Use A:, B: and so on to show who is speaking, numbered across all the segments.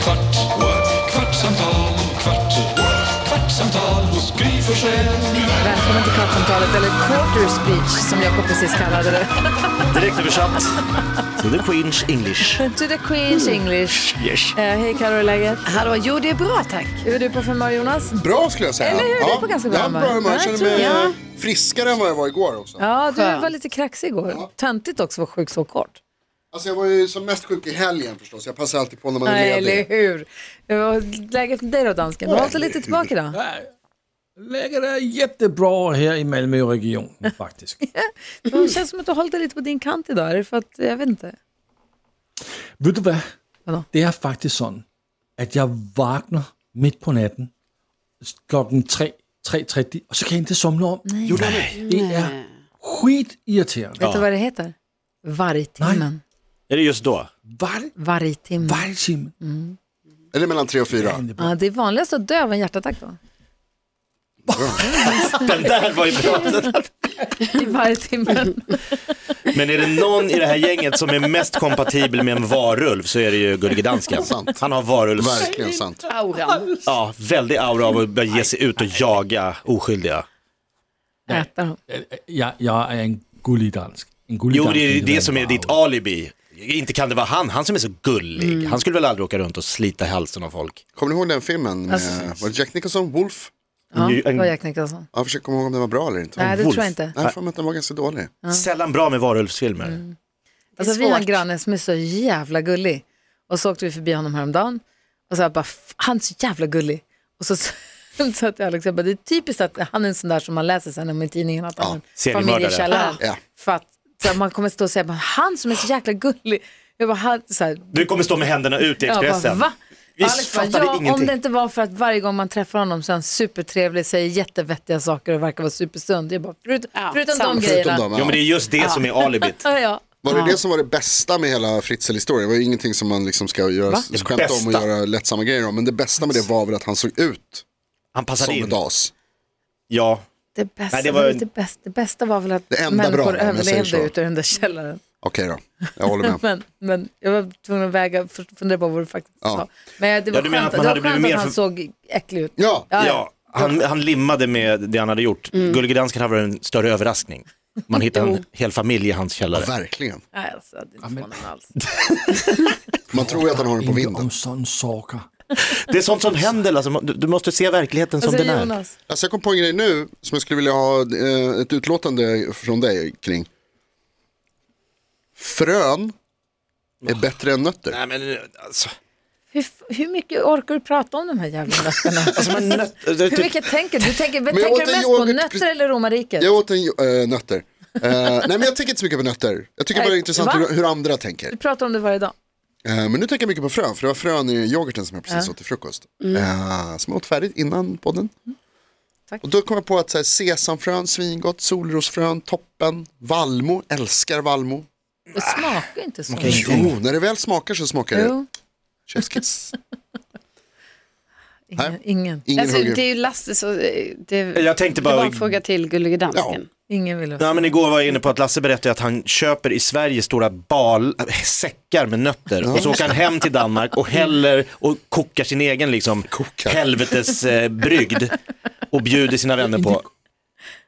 A: kvart, what? kvartsamtal, kvart, what? kvartsamtal hos Gry Forssell med vänner.
B: Välkommen till Kvartsamtalet, eller Quarter Speech som Jakob precis kallade det.
C: Direkt översatt. To the Queen's English. Mm.
B: To the Queen's English.
C: Yes.
B: Eh, Hej Carro, hur är läget? Hallå, jo det är bra tack. Hur är du på för humör Jonas?
D: Bra skulle jag säga.
B: Eller hur? Du är på ganska bra
D: jag har
B: humör.
D: bra humör. Jag
B: Ja,
D: känner
B: tror
D: mig
B: jag.
D: eh, friskare än vad jag var igår också.
B: Ja, du var lite kraxig igår. Töntigt också att vara sjuk så kort.
D: Alltså jag var ju som mest sjuk i helgen förstås. Jag passar alltid på när man är
B: Nej, eller
D: ledig.
B: hur? Och Läget för dig då dansken? Du har hållit dig lite tillbaka
E: Mm.
B: idag.
F: Läget är jättebra här i Malmöregionen faktiskt.
B: Det känns som att du har hållit dig lite på din kant idag. Är det för att, jag vet inte.
F: Vet du vad?
B: Vadå?
F: Det är faktiskt så att jag vaknar mitt på natten klockan tre- 3.30 och så kan jag inte somna om. Jo, det är- Det är skitirriterande.
B: Vet du vad det heter? Vargtimmen.
C: Är det just då?
F: Var,
B: Vargtimmen.
F: varje timme.
D: Eller mellan tre och fyra.
B: Ja, det är vanligast att dö av en hjärtattack då.
C: Den där var ju bra.
B: I vargtimmen.
C: Men är det någon i det här gänget som är mest kompatibel med en varulv så är det ju Gullige Dansken.
D: Sant.
C: Han har varulvs...
D: Verkligen sant.
C: Ja, väldig aura av att börja ge sig ut och jaga oskyldiga.
B: Äta dem.
F: Jag, jag är Eh, en gullig dansk. En gullig
C: Jo,
F: dansk
C: det är
F: inte
C: det
F: en
C: som är ditt
F: varulv.
C: alibi. Inte kan det vara han, han som är så gullig. Han skulle väl aldrig åka runt och slita hälsen av folk.
D: Kommer ni ihåg den filmen? Med,
B: Alltså-
D: var det Jack Nicholson? Wolf?
B: Ja,
C: Ju-
B: det
C: en-
B: var Jack Nicholson.
D: Jag försöker komma ihåg om den var bra eller inte.
B: Nej, det
C: Wolf.
B: tror jag inte.
D: Nej, jag har för mig att den var ganska dålig.
C: Sällan bra med varulvsfilmer.
F: Mm.
B: Alltså, vi har en granne som är så jävla gullig. Och så åkte vi förbi honom häromdagen och så här bara, "F- han är så jävla gullig. Och så sa jag till Alex, jag bara, det är typiskt att han är en sån där som man läser sen om i tidningen, att han har en familj i
C: seriemördare.
B: källaren.
D: Ja.
B: För att så här, man kommer stå och säga, bara, han som är så jävla gullig. Jag bara, han, så här,
C: Du kommer stå med händerna ut i
B: jag bara,
C: Expressen.
B: va?
C: Vi
B: Alex bara,
C: fattade
B: ja, om
C: ingenting."
B: det inte var för att varje gång man träffar honom så är han supertrevlig, säger jättevettiga saker och verkar vara supersund. Jag bara, förut, förutom de grejerna.
D: Förutom dem.
C: Jo, men det är
D: ja.
C: just det som är alibit.
B: Ja, ja.
D: Var det det som var det bästa med hela Fritzl-historien? Det var ju ingenting som man liksom ska göra,
C: Det
D: skämta om och
C: bästa.
D: göra lättsamma grejer om. Men det bästa med det var väl att han såg ut
C: Han passade
D: som ett
C: in.
D: as.
C: Ja,
B: Det bästa,
C: Nej, det
B: var...
C: var-
B: det, bästa, det bästa var väl att
D: Det enda bra,
B: människor
D: om jag säger
B: överlevde
D: så.
B: ut ur den där källaren.
D: Okej då, jag håller med.
B: Men, men jag var tvungen att väga, först fundera på vad du faktiskt
D: Ja.
B: sa. Men det var
C: Ja, du menar
B: skönt,
C: att man
B: det
C: hade
B: var skönt
C: blivit mer
B: att han
C: för-
B: såg äcklig ut.
D: Ja,
B: Ja, Mm. ja.
C: Ja, han, han limmade med det han hade gjort. Gullige Dansken hade varit en större överraskning. Man hittade en hel familj i hans källare.
D: verkligen.
B: Nej, alltså, det är inte förvånande alls.
D: Man tror ju att han har den på
F: Inte
D: vinden.
F: om sån saker.
C: Det är sånt som händer, alltså, du, du måste se verkligheten
B: Vad
C: som den
B: säger
C: är.
B: Jonas?
D: Alltså jag kom på en grej nu som jag skulle vilja ha eh, ett utlåtande från dig kring. Frön är bättre än
C: Nej,
D: nötter.
C: men, alltså,
B: Hur, hur mycket orkar du prata om de här jävla nötterna?
C: alltså, men, nöt,
B: hur mycket tänker du? du? Tänker,
D: Eh, typ- jag
B: tänker du
D: åt en
B: mest på
D: yoghurt
B: nötter
D: precis-
B: eller romariket?
D: Jag åt en eh, nötter. Eh, nej men jag tänker inte så mycket på nötter. Jag tycker bara det
B: Nej,
D: är intressant
B: va?
D: hur, hur andra tänker.
B: Du pratar om det varje dag.
D: Eh, men nu tänker jag mycket på frön, för det var frön i yoghurten som jag precis åt till frukost. Eh, som jag åt färdigt innan podden.
B: Mm. Tack.
D: Och då kom jag på att så här, sesamfrön, svingott, solrosfrön, toppen, valmo, älskar valmo.
B: Det smakar ju inte så.
D: Jo, när det väl smakar så smakar det
B: Jo,
D: chefskiss.
B: ingen,
D: Nej.
B: ingen,
D: Ingen
G: Alltså,
D: hugger.
G: det är ju Lasse så... eh, Det,
C: Jag tänkte
G: det var
C: bara-
G: en fråga till Gullige Dansken.
B: ingen vill ha.
C: Nej, men igår var jag inne på att Lasse berättade att han köper i Sverige stora bal, äh, säckar med nötter och så åker han hem till Danmark och häller och kokar sin egen liksom, helvetes eh, brygd och bjuder sina vänner på.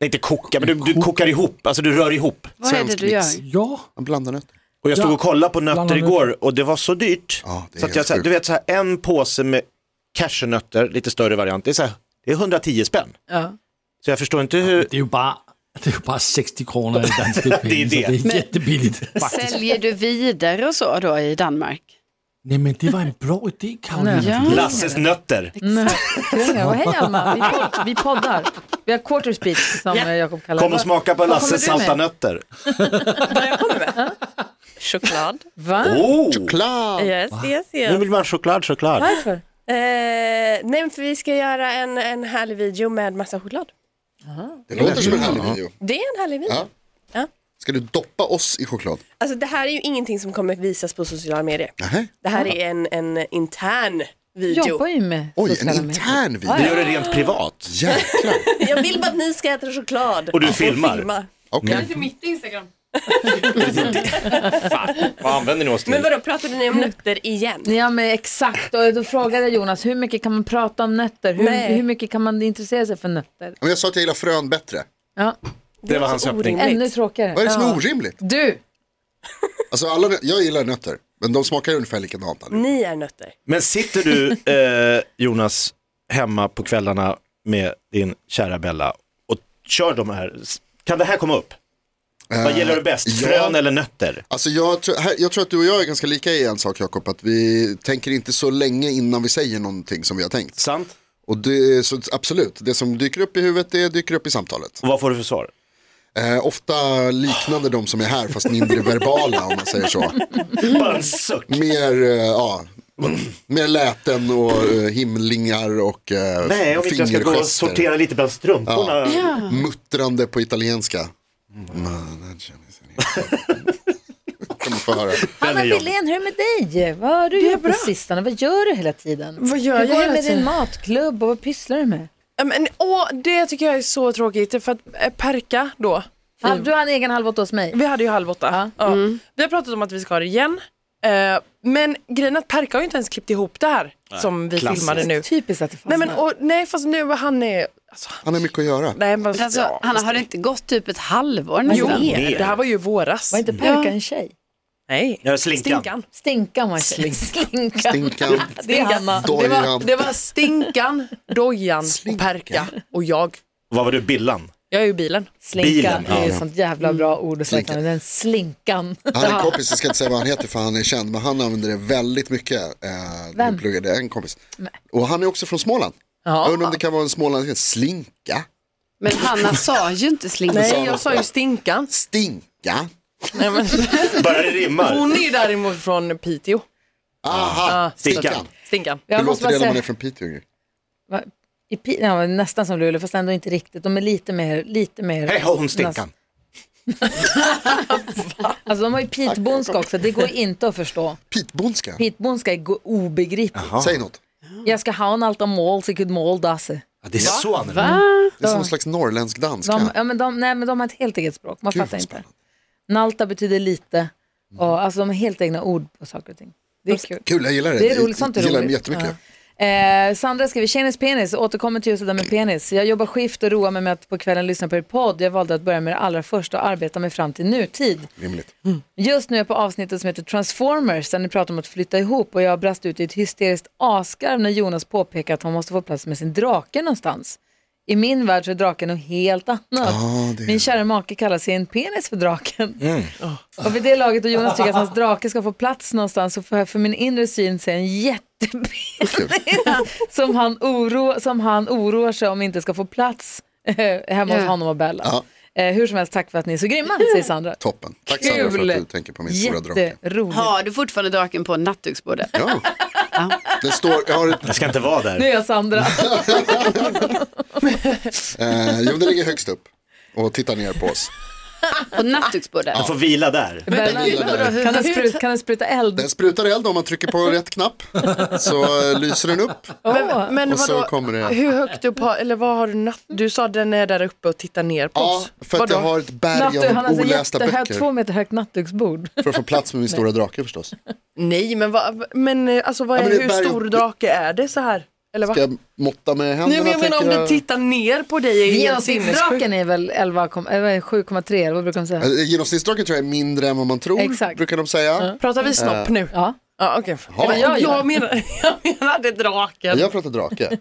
C: Nej, inte koka, men du, du kokar ihop, alltså du rör ihop.
G: Vad är det
D: Svensk
G: du gör?
D: mix.
F: Ja,
D: Han blandar nötter.
C: Och jag stod
F: Ja.
C: och kollade på nötter
F: Blandar nötter.
C: igår och det var så dyrt.
D: Ja, det är
C: så att jag,
D: helt
C: så här,
D: sjukt.
C: du vet så här, en påse med cashewnötter, lite större variant, det är, så här, det är 110 spänn.
B: Ja.
C: Så jag förstår inte hur...
F: det är ju bara, det är ju bara 60 kronor i danska pengar.
C: Det är det.
F: Så det är jättebilligt faktiskt.
G: Säljer du vidare och så då i Danmark?
F: Nej men det var en bra idé Karolina.
G: Ja.
C: Lasses nötter.
B: Kringar. Och hej Alma, vi, pod- vi poddar. Vi har quarter speech som eh, Jakob kallar
C: Kom och
B: det.
C: smaka på
B: Vad
C: Lasses
B: kommer du med?
C: salta nötter.
E: Choklad.
B: Va?
C: Oh,
D: Choklad!
E: Yes, yes,
C: nu
E: yes.
C: Oh! vill man choklad, choklad.
B: Varför?
E: Eh, nej, men för vi ska göra en, en härlig video med massa choklad.
D: Det låter som en härlig video.
E: Det är en härlig video.
D: Ja.
E: Ja.
D: Ska du doppa oss i choklad?
E: Alltså det här är ju ingenting som kommer visas på sociala medier.
D: Nej.
E: Det här är en, en intern
B: Jag
E: video.
B: jobbar ju med
D: Oj, en
B: sociala medier.
D: intern
C: Du
D: video.
C: gör det rent privat.
D: Jäklar.
E: Jag vill bara att ni ska äta choklad.
C: Och du filmar?
E: filma.
D: Okej.
C: Vad använder ni oss
E: Men
C: till?
E: vadå, pratade ni om nötter igen?
B: Ja men exakt, och då frågade jag Jonas, hur mycket kan man prata om nötter? Hur,
E: Nej.
B: hur mycket kan man intressera sig för nötter?
D: Men jag sa att jag gillar frön bättre.
B: Ja,
C: Det var
E: är
C: hans
E: så
C: öppning.
E: orimligt.
B: ännu tråkigare.
D: Vad är det som
B: ja.
D: är orimligt?
B: Du,
D: Alltså alla, nö- jag gillar nötter, men de smakar ungefär likadant. allihop.
E: Ni är nötter.
C: Men sitter du, eh, Jonas, hemma på kvällarna med din kära Bella och kör de här, kan det här komma upp? Vad gillar du bäst,
D: ja.
C: frön eller nötter?
D: Alltså jag, tror- här- jag tror att du och jag är ganska lika i en sak Jakob, att vi tänker inte så länge innan vi säger någonting som vi har tänkt.
C: Sant?
D: Och det, så absolut, det som dyker upp i huvudet det dyker upp i samtalet.
C: Och vad får du för svar?
D: Eh, ofta liknande de som är här fast mindre verbala om man säger så.
C: Bara en suck.
D: Mer, eh, ja, mer läten och eh, himlingar och eh,
C: Nej, jag vet inte, jag ska gå och
D: fingergester.
C: sortera lite bland strumporna.
D: Muttrande på italienska.
C: Mm.
D: Mm. Manager. Kommer få höra.
B: Hanna
C: är jobbig.
B: Billén, hur är det med dig? Vad har du gjort på sistone? Vad gör du hela tiden?
H: Vad gör
B: hur
H: jag
B: går det
H: hela
B: med din
H: tiden?
B: matklubb och vad pysslar du med?
H: Ja, Men, åh, det tycker jag är så tråkigt, för att eh, Perka då,
B: Halv, du har en egen halv åt oss mig.
H: vi hade ju halv åtta. Ja.
E: Mm.
H: Vi har pratat om att vi ska ha det igen, eh, men grejen är att Perka har ju inte ens klippt ihop det här som vi
C: klassiskt.
H: filmade nu.
B: Typiskt att det fastnar.
H: Nej, men, och, nej fast nu han är... Alltså,
D: Han har mycket att göra.
H: nej, men,
G: Alltså,
H: ja,
G: Hanna,
H: fast-
G: har det inte gått typ ett halvår
H: Jo,
G: nästan?
H: det här var ju i våras.
B: Var inte Perka en tjej?
H: Nej.
C: Jag är slinkan.
H: Stinkan.
B: Stinkan var en tjej. Slinkan.
D: Stinkan,
B: Det är Hanna.
H: Det var,
D: dojan.
H: det var Stinkan, Dojan och Perka och jag.
C: Vad var du, Billan?
H: Jag är ju i bilen. Mm.
B: Slinkan
C: Bilen,
B: är ju
C: ja.
B: ett sånt jävla bra ord att
D: Slinkan.
B: säga. Den slinkan.
D: Han är en kompis, jag ska inte säga vad han heter för han är känd, men han använder det väldigt mycket. Eh, när vi pluggade, en kompis. Och han är också från Småland. Jag undrar om det kan vara en Småland, slinka,
G: Men Hanna sa ju inte slinka.
H: Nej, jag sa ju Stinkan.
D: stinka.
H: Nej, men,
C: Bara det rimmar.
H: hon är ju däremot från Piteå.
D: Aha,
C: Stinkan.
D: stinkan.
H: Stinkan.
B: Jag
D: Hur
B: måste
D: låter
B: bara
D: det när
B: säga-
D: man är från Piteå?
B: Va? I Pi- ja, nästan som Luleå, fast ändå inte riktigt. De är lite mer... Lite mer
C: Hej hon stinkan.
B: Alltså de har ju pitbonska också, det går inte att förstå.
D: Pitbondska,
B: Pitbonska är go- obegripligt.
D: säg något.
B: Jag ska ha en allt om mål, så gud mål dasse.
C: Ja, det är så annorlunda.
D: Det är som en slags norrländsk danska.
B: De, ja, men de, nej men de har ett helt eget språk, man
D: Gud,
B: fattar
D: vad Mm.
B: inte. Nalta betyder lite, och, alltså de har helt egna ord på saker och ting. Det är kul.
D: Alltså, Kul, jag gillar det.
B: Det är roligt, sånt är
D: jag gillar
B: roligt.
D: det jättemycket.
B: Ja. Eh, Sandra skriver, tjenis penis, återkommer till just det där med penis. Jag jobbar skift och roar mig med att på kvällen lyssna på er podd. Jag valde att börja med det allra första och arbeta mig fram till nutid.
D: Rimligt.
B: Just nu är jag på avsnittet som heter Transformers där ni pratar om att flytta ihop och jag brast ut i ett hysteriskt asgarv när Jonas påpekade att han måste få plats med sin drake någonstans. I min värld så är draken något helt annat.
D: Ah, det är- Mm.
B: Min kära make kallar sig en penis för draken. Och vid det laget och Jonas tycker att hans drake ska få plats någonstans så får jag för min inre syn se en jättepenis som han, oro, som han oroar sig om inte ska få plats eh, hemma hos
G: Ja.
B: honom och Bella.
D: Ja.
B: Eh, hur som helst, tack för att ni är så grymma, säger Sandra.
D: Toppen. Tack Sandra för att du tänker på min stora drake.
B: Jätteroligt.
G: Har du fortfarande draken på nattduksbordet?
D: Ja. Det står, jag har ett,
C: Jag ska inte vara
B: Nu
C: där.
B: är jag Sandra.
D: eh, jo, den ligger högst upp och tittar ner på oss.
G: På nattduksbordet?
C: Jag får vila där.
B: Bella,
D: gillar det.
B: vadå, hur- kan, den spruta, kan den spruta eld?
D: Den sprutar eld om man trycker på rätt knapp så eh, lyser den upp.
B: Åh,
H: Men
D: Och så
H: vadå,
D: kommer det-
H: hur högt upp har, eller vad har du natt? Du sa den är där uppe och tittar ner på
D: Ja,
H: oss.
D: för att
H: Vadå?
D: jag har ett berg
B: Nattduks, han
D: av
B: har så
D: olästa
B: jättehögt,
D: böcker.
B: två meter högt nattduksbord.
D: För att få plats med min stora drake förstås.
H: Nej, men, vad, men eh, alltså vad
D: Ja,
H: är,
D: men det är
H: hur
D: berg-
H: stor drake är det så här? Eller vad?
D: Ska jag måtta med händerna?
H: Nej, men jag menar om
D: tänker
H: du tittar ner på dig i en sinnessjuk.
B: Genomsnittsdraken är väl 11, kom- eh, vad är det, 7,3 eller vad brukar de säga?
D: Eh, Genomsnittsdraken tror jag är mindre än vad man tror,
B: Exakt.
D: brukar de säga.
H: Pratar vi snopp nu?
B: Ja.
H: Ja, okej.
D: äh, Ja.
H: Men Jag, jag, menar, jag menade draken
D: Jag pratar drake,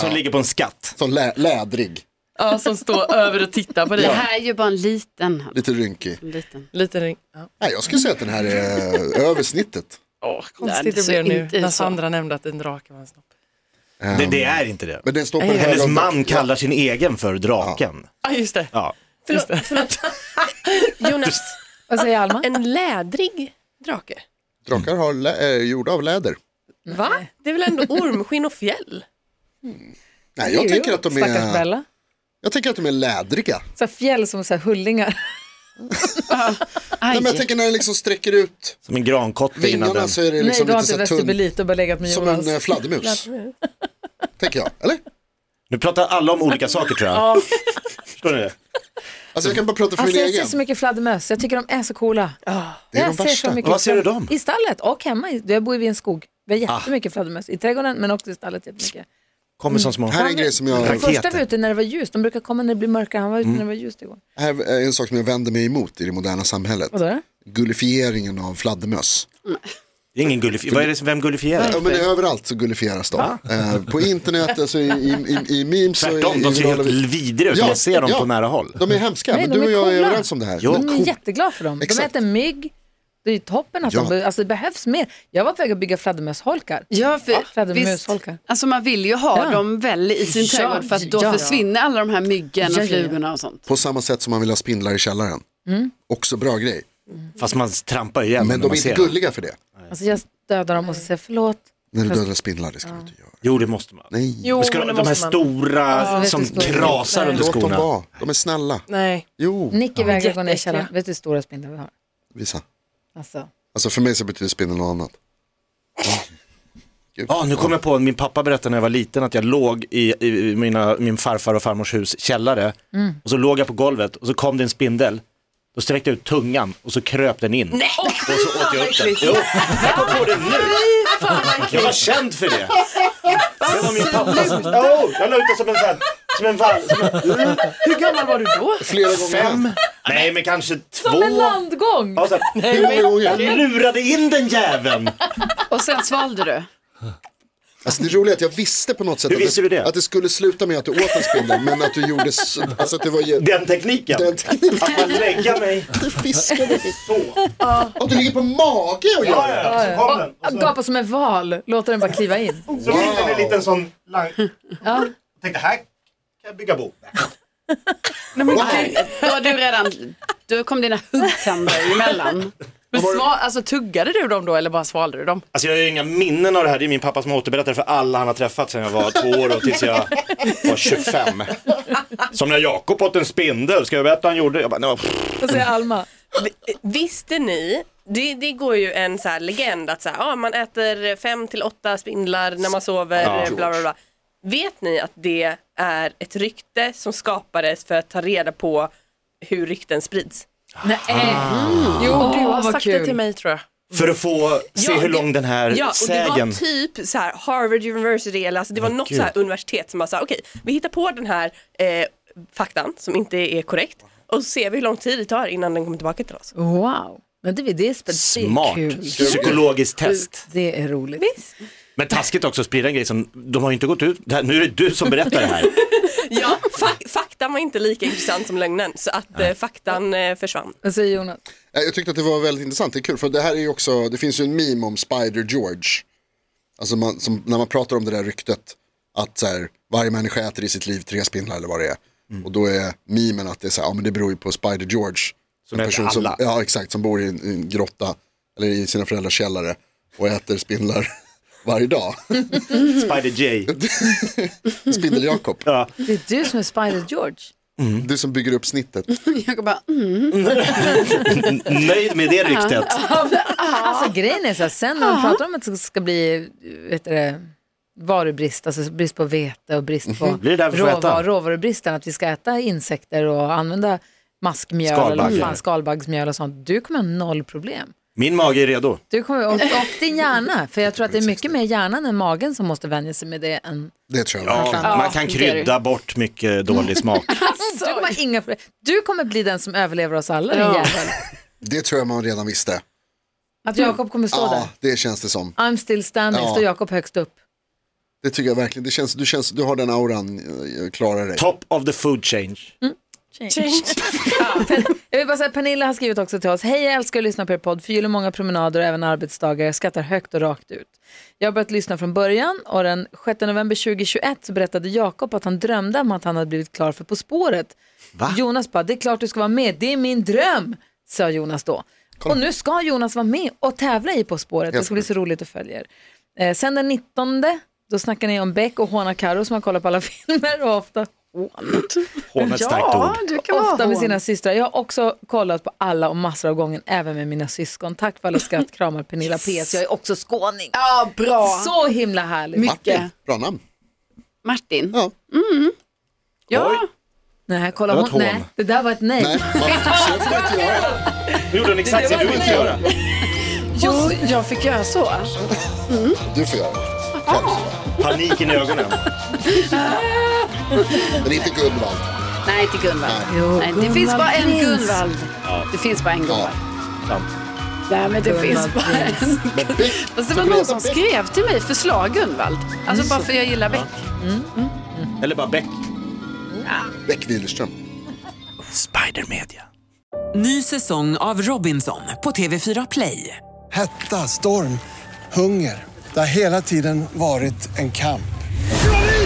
C: Som ligger på en skatt.
D: som lä- lädrig,
H: ja, som står över och tittar på dig.
G: Det här är ju bara en liten. Hanna.
D: lite rynkig.
G: En liten.
H: Lite ring. Ja.
D: Nej, jag skulle säga att den här är över snittet.
H: Åh,
G: Nej,
H: konstigt
G: det
H: det
G: ser
H: blev nu
G: inte ut
H: när
G: så.
H: Sandra nämnde att en drake var en snopp.
C: Det, det är inte det.
D: Men den står på en hög
C: Hennes
D: av-
C: man kallar sin egen för draken.
H: Ja, just det.
C: Ja.
E: Förlåt, förlåt. Jonas,
H: Ah,
B: Vad säger Alma?
E: en lädrig drake?
D: Drakar har lä- är eh, gjorda av läder.
B: Va?
E: Det är väl ändå ormskinn och fjäll?
D: Nej, jag
B: Jo,
D: tänker att de
B: Stackars
D: är...
B: Bella.
D: Jag tänker att de är lädriga.
B: Så här fjäll som så här hullingar.
D: Nej, men jag tänker när den liksom sträcker ut
C: Som en grankotte innan
D: vingarna
C: den.
D: så är det
B: Nej,
D: liksom
B: du har inte
D: lite så här tunn.
B: vestibulit, du har bara legat med
D: Som
B: Jonas.
D: en eh, fladdermus, tänker jag. Eller?
C: Nu pratar alla om olika saker tror jag. Förstår ni det?
D: Alltså jag kan bara prata för
B: Alltså
D: min
B: jag ser
D: egen.
B: så mycket fladdermöss, jag tycker de är så coola.
D: Ah. det är
B: jag
D: de värsta.
C: Var ser du dem?
B: I stallet och hemma, i- jag bor ju vid en skog. Vi har
D: Ah.
B: jättemycket fladdermöss i trädgården men också i stallet jättemycket.
C: Kommer som små
D: Här är en grej som jag...
B: Den första var
C: raketer.
B: ute när det var ljust, de brukar komma när det blir mörkare, han var ute
C: Mm.
B: när det var ljust igår.
D: Här är en sak som jag vänder mig emot i det moderna samhället.
B: Vadå? då?
D: Gullifieringen av fladdermöss.
C: Det är ingen gullif- Vad är det som, vem gullifierar?
D: Ja, men överallt så gullifieras de. Eh, på internet, alltså i, i, i, i memes och i,
C: Tvärtom, de
D: i
C: ser helt vidriga ut när
D: Ja,
C: man ser dem
D: ja.
C: på nära håll.
D: De är hemska,
B: Nej,
D: men
B: de
D: du och
B: är
D: jag är
B: coola.
D: överens om det här.
C: Ja.
D: De är
B: De är
D: coola.
B: jätteglada för dem.
D: Exakt.
B: De äter mygg. Det är ju toppen att
D: Ja.
B: de behöver, alltså det behövs mer. Jag var på väg att bygga fladdermösholkar.
G: Ja, för, visst.
B: Fladdermusholkar.
G: Alltså man vill ju ha
B: Ja.
G: dem väl i sin
B: Ja,
G: trädgård för att då
B: ja.
G: försvinner alla de här myggen
B: Ja, ja,
G: och
B: ja.
G: flugorna och sånt.
D: På samma sätt som man vill ha spindlar i källaren.
B: Mm.
D: Också bra grej.
C: Fast man trampar ju igen
D: Men
C: när
D: de är
C: man
D: inte
C: ser dem.
D: gulliga för det.
B: Alltså jag dödar dem och så säger jag förlåt.
D: När du dödar spindlar, det ska du inte göra.
C: Jo, det måste man.
D: Nej,
H: Jo,
C: Men ska
H: men
C: de,
H: det
C: de här
H: måste man.
C: stora som
B: Jättestora.
C: krasar under
D: låt dem
C: skorna.
D: vara. De är snälla.
H: Nej.
D: Jo,
B: Nick vägrar gå ner i källaren.
H: Jätteäckliga.
B: Vet du hur stora spindlar vi har?
D: visa.
B: Alltså,
D: Alltså för mig så betyder spindel något annat. Ja. Gud.
C: Ja, nu kom jag på, min pappa berättade när jag var liten att jag låg i, i mina, min farfar och farmors hus källare
B: Mm.
C: och så låg jag på golvet och så kom det en spindel. Då sträckte jag ut tungan och så kröp den in. Och så åt jag upp den. Jo, jag kom på det nu. Jag var känd för det. Det var min pappa som... Jo, jag lutade som en sån här- som en vall. Som en,
H: Hur gammal var du då?
D: Flera gånger.
C: fem? Nej, men kanske två.
B: som en landgång!
C: Ja, så här,
D: Hur många
C: jag
D: gånger?
C: lurade in den jäveln.
G: Och sen svalde du.
D: Alltså det roliga är att jag visste på något sätt
C: Hur
D: att,
C: visste du det?
D: att det skulle sluta med att du åt en spindel men att du gjorde så, alltså att det var ju...
C: Den tekniken.
D: Den tekniken.
C: Att man lägger mig
D: Du fiskade dig.
C: så.
D: Och du ligger på mage och gör det.
C: Ja, så kom den.
B: Och Gapa som en val, låter den bara kliva in.
C: Så fick den en liten sån lang...
B: Ja.
C: Tänkte här kan jag bygga bo.
G: Då har du redan, då kom dina huggtänder emellan.
H: Men sval, alltså, tuggade du dem då eller bara svalde du dem?
C: Alltså jag har ju inga minnen av det här. Det är min pappa som återberättar för alla han har träffat sedan jag var två år och tills jag var 25. Som när Jakob åt en spindel. Ska jag berätta vad han gjorde? Jag bara, "Nej, pff."
B: Vad säger Alma?
E: Vi- Visste ni, det, det går ju en så här legend att så här, ah, man äter fem till åtta spindlar när man sover, eh,
C: Ja.
E: bla bla bla. Vet ni att det är ett rykte som skapades för att ta reda på hur rykten sprids?
B: Nej.
C: Ah.
B: Jo,
H: Du har
B: vad
H: sagt det till
B: kul.
H: mig tror jag.
C: för att få se
E: Ja,
C: hur
E: det-
C: lång den här
E: Ja, och det
C: sägen.
E: var typ så här Harvard University eller alltså det var något så här universitet som bara sa okej, vi hittar på den här eh, faktan som inte är korrekt och så ser vi hur lång tid det tar innan den kommer tillbaka till oss.
B: Wow. Men det, det är spännande. Det är
C: Smart.
B: kul.
C: Psykologiskt test.
B: Det är roligt.
C: Men taskigt också att sprida en grej som, de har ju inte gått ut, det här, nu är det du som berättar det här.
E: Ja, fa- faktan var inte lika intressant som lögnen så att eh, faktan eh, försvann.
B: Vad säger Jonas?
D: Nej, Jag tyckte att det var väldigt intressant, det är kul för det här är ju också, det finns ju en meme om Spider George. Alltså man, som, när man pratar om det där ryktet att så här, varje människa äter i sitt liv tre spindlar eller vad det är.
C: Mm.
D: Och då är memen att det är så här, ja men det beror ju på Spider George.
C: Som
D: en
C: äter
D: person som,
C: alla.
D: Ja exakt, som bor i en, i en grotta eller i sina föräldrars källare och äter spindlar varje dag.
C: Spider J.
D: Spindel Jakob,
C: Ja.
B: Det är du som är Spider George.
C: Mm.
D: du som bygger upp snittet.
G: Jag bara, mm.
C: Nöjd med det ryktet.
B: Alltså grejen är så här, sen när de pratar om att det ska bli vet du, det, varubrist, alltså brist på vete och brist på
C: Mm-hmm. Blir det därför vi får äta?
B: råvaror, råvarubristen, att vi ska äta insekter och använda maskmjöl eller vad
C: Skalbaggar.
B: fan, skalbaggsmjöl och sånt. Du kommer ha noll problem.
C: Min mage är redo.
B: Du kommer, och, och din hjärna, för jag tror att det är mycket mer hjärnan än magen som måste vänja sig med det än...
D: Det tror jag.
C: Ja,
D: verkligen.
C: man kan krydda bort mycket dålig smak.
B: Du kommer, ha inga, problem. du kommer bli den som överlever oss alla, din
G: Ja.
B: jävel.
D: Det tror jag man redan visste.
B: Att Jakob kommer stå där.
D: Ja, det känns det som.
B: I'm still standing,
D: Ja.
B: står Jakob högst upp.
D: Det tycker jag verkligen. Det känns, du, känns, du har den auran, eh, klarar dig.
C: Top of the food change.
B: Jag vill bara säga, Pernilla har skrivit också till oss. Hej, jag älskar att lyssna på er podd. Förgyller många promenader och även arbetsdagar. Jag skrattar högt och rakt ut. Jag har börjat lyssna från början och den 6 november 2021 så berättade Jakob att han drömde om att han hade blivit klar för På spåret. Jonas bara, det är klart du ska vara med. Det är min dröm, sa Jonas då. Och nu ska Jonas vara med och tävla i På spåret. Det ska bli så roligt att följa er. Eh, sen den 19, då snackar ni om Beck och Hona Karo som har kollat på alla filmer och ofta hånat.
C: Hån är ett starkt
B: ja,
C: ord.
G: du kan vara
B: Ofta med
G: hån.
B: sina systrar. Jag har också kollat på alla och massor av gången, även med mina syskon. Tack för alla skratt, kramar Pernilla PS. Jag är också skåning.
G: Ja, bra.
B: Så himla härligt.
D: Martin, Mm. bra namn.
G: Martin.
D: Ja.
G: Ja,
B: Nej, kolla
C: Det var ett
B: hon.
C: hån.
B: Nej, det där var ett nej.
D: Nej, så får man inte göra.
C: Nu gjorde hon exakt så, det får vi inte göra.
G: jo, jag fick göra så.
D: Du får göra det.
C: Paniken i ögonen.
D: Men inte Gudvald.
G: Nej, inte Gunvald.
B: Jo,
G: Nej, det
B: Gunvald
G: finns bara en
B: Prins.
G: Gunvald. Det finns bara en Gunvald.
C: Sant.
G: Nej, men det
B: Gunvald
G: finns bara en.
D: Men Beck,
G: Fast det var någon som skrev till mig, förslag Gunvald. Alltså bara för jag gillar Beck.
C: Eller bara Beck.
D: Beck Widerström.
C: Spider Media.
I: Ny säsong av Robinson på TV4 Play.
J: Hetta, storm, hunger. Det har hela tiden varit en kamp.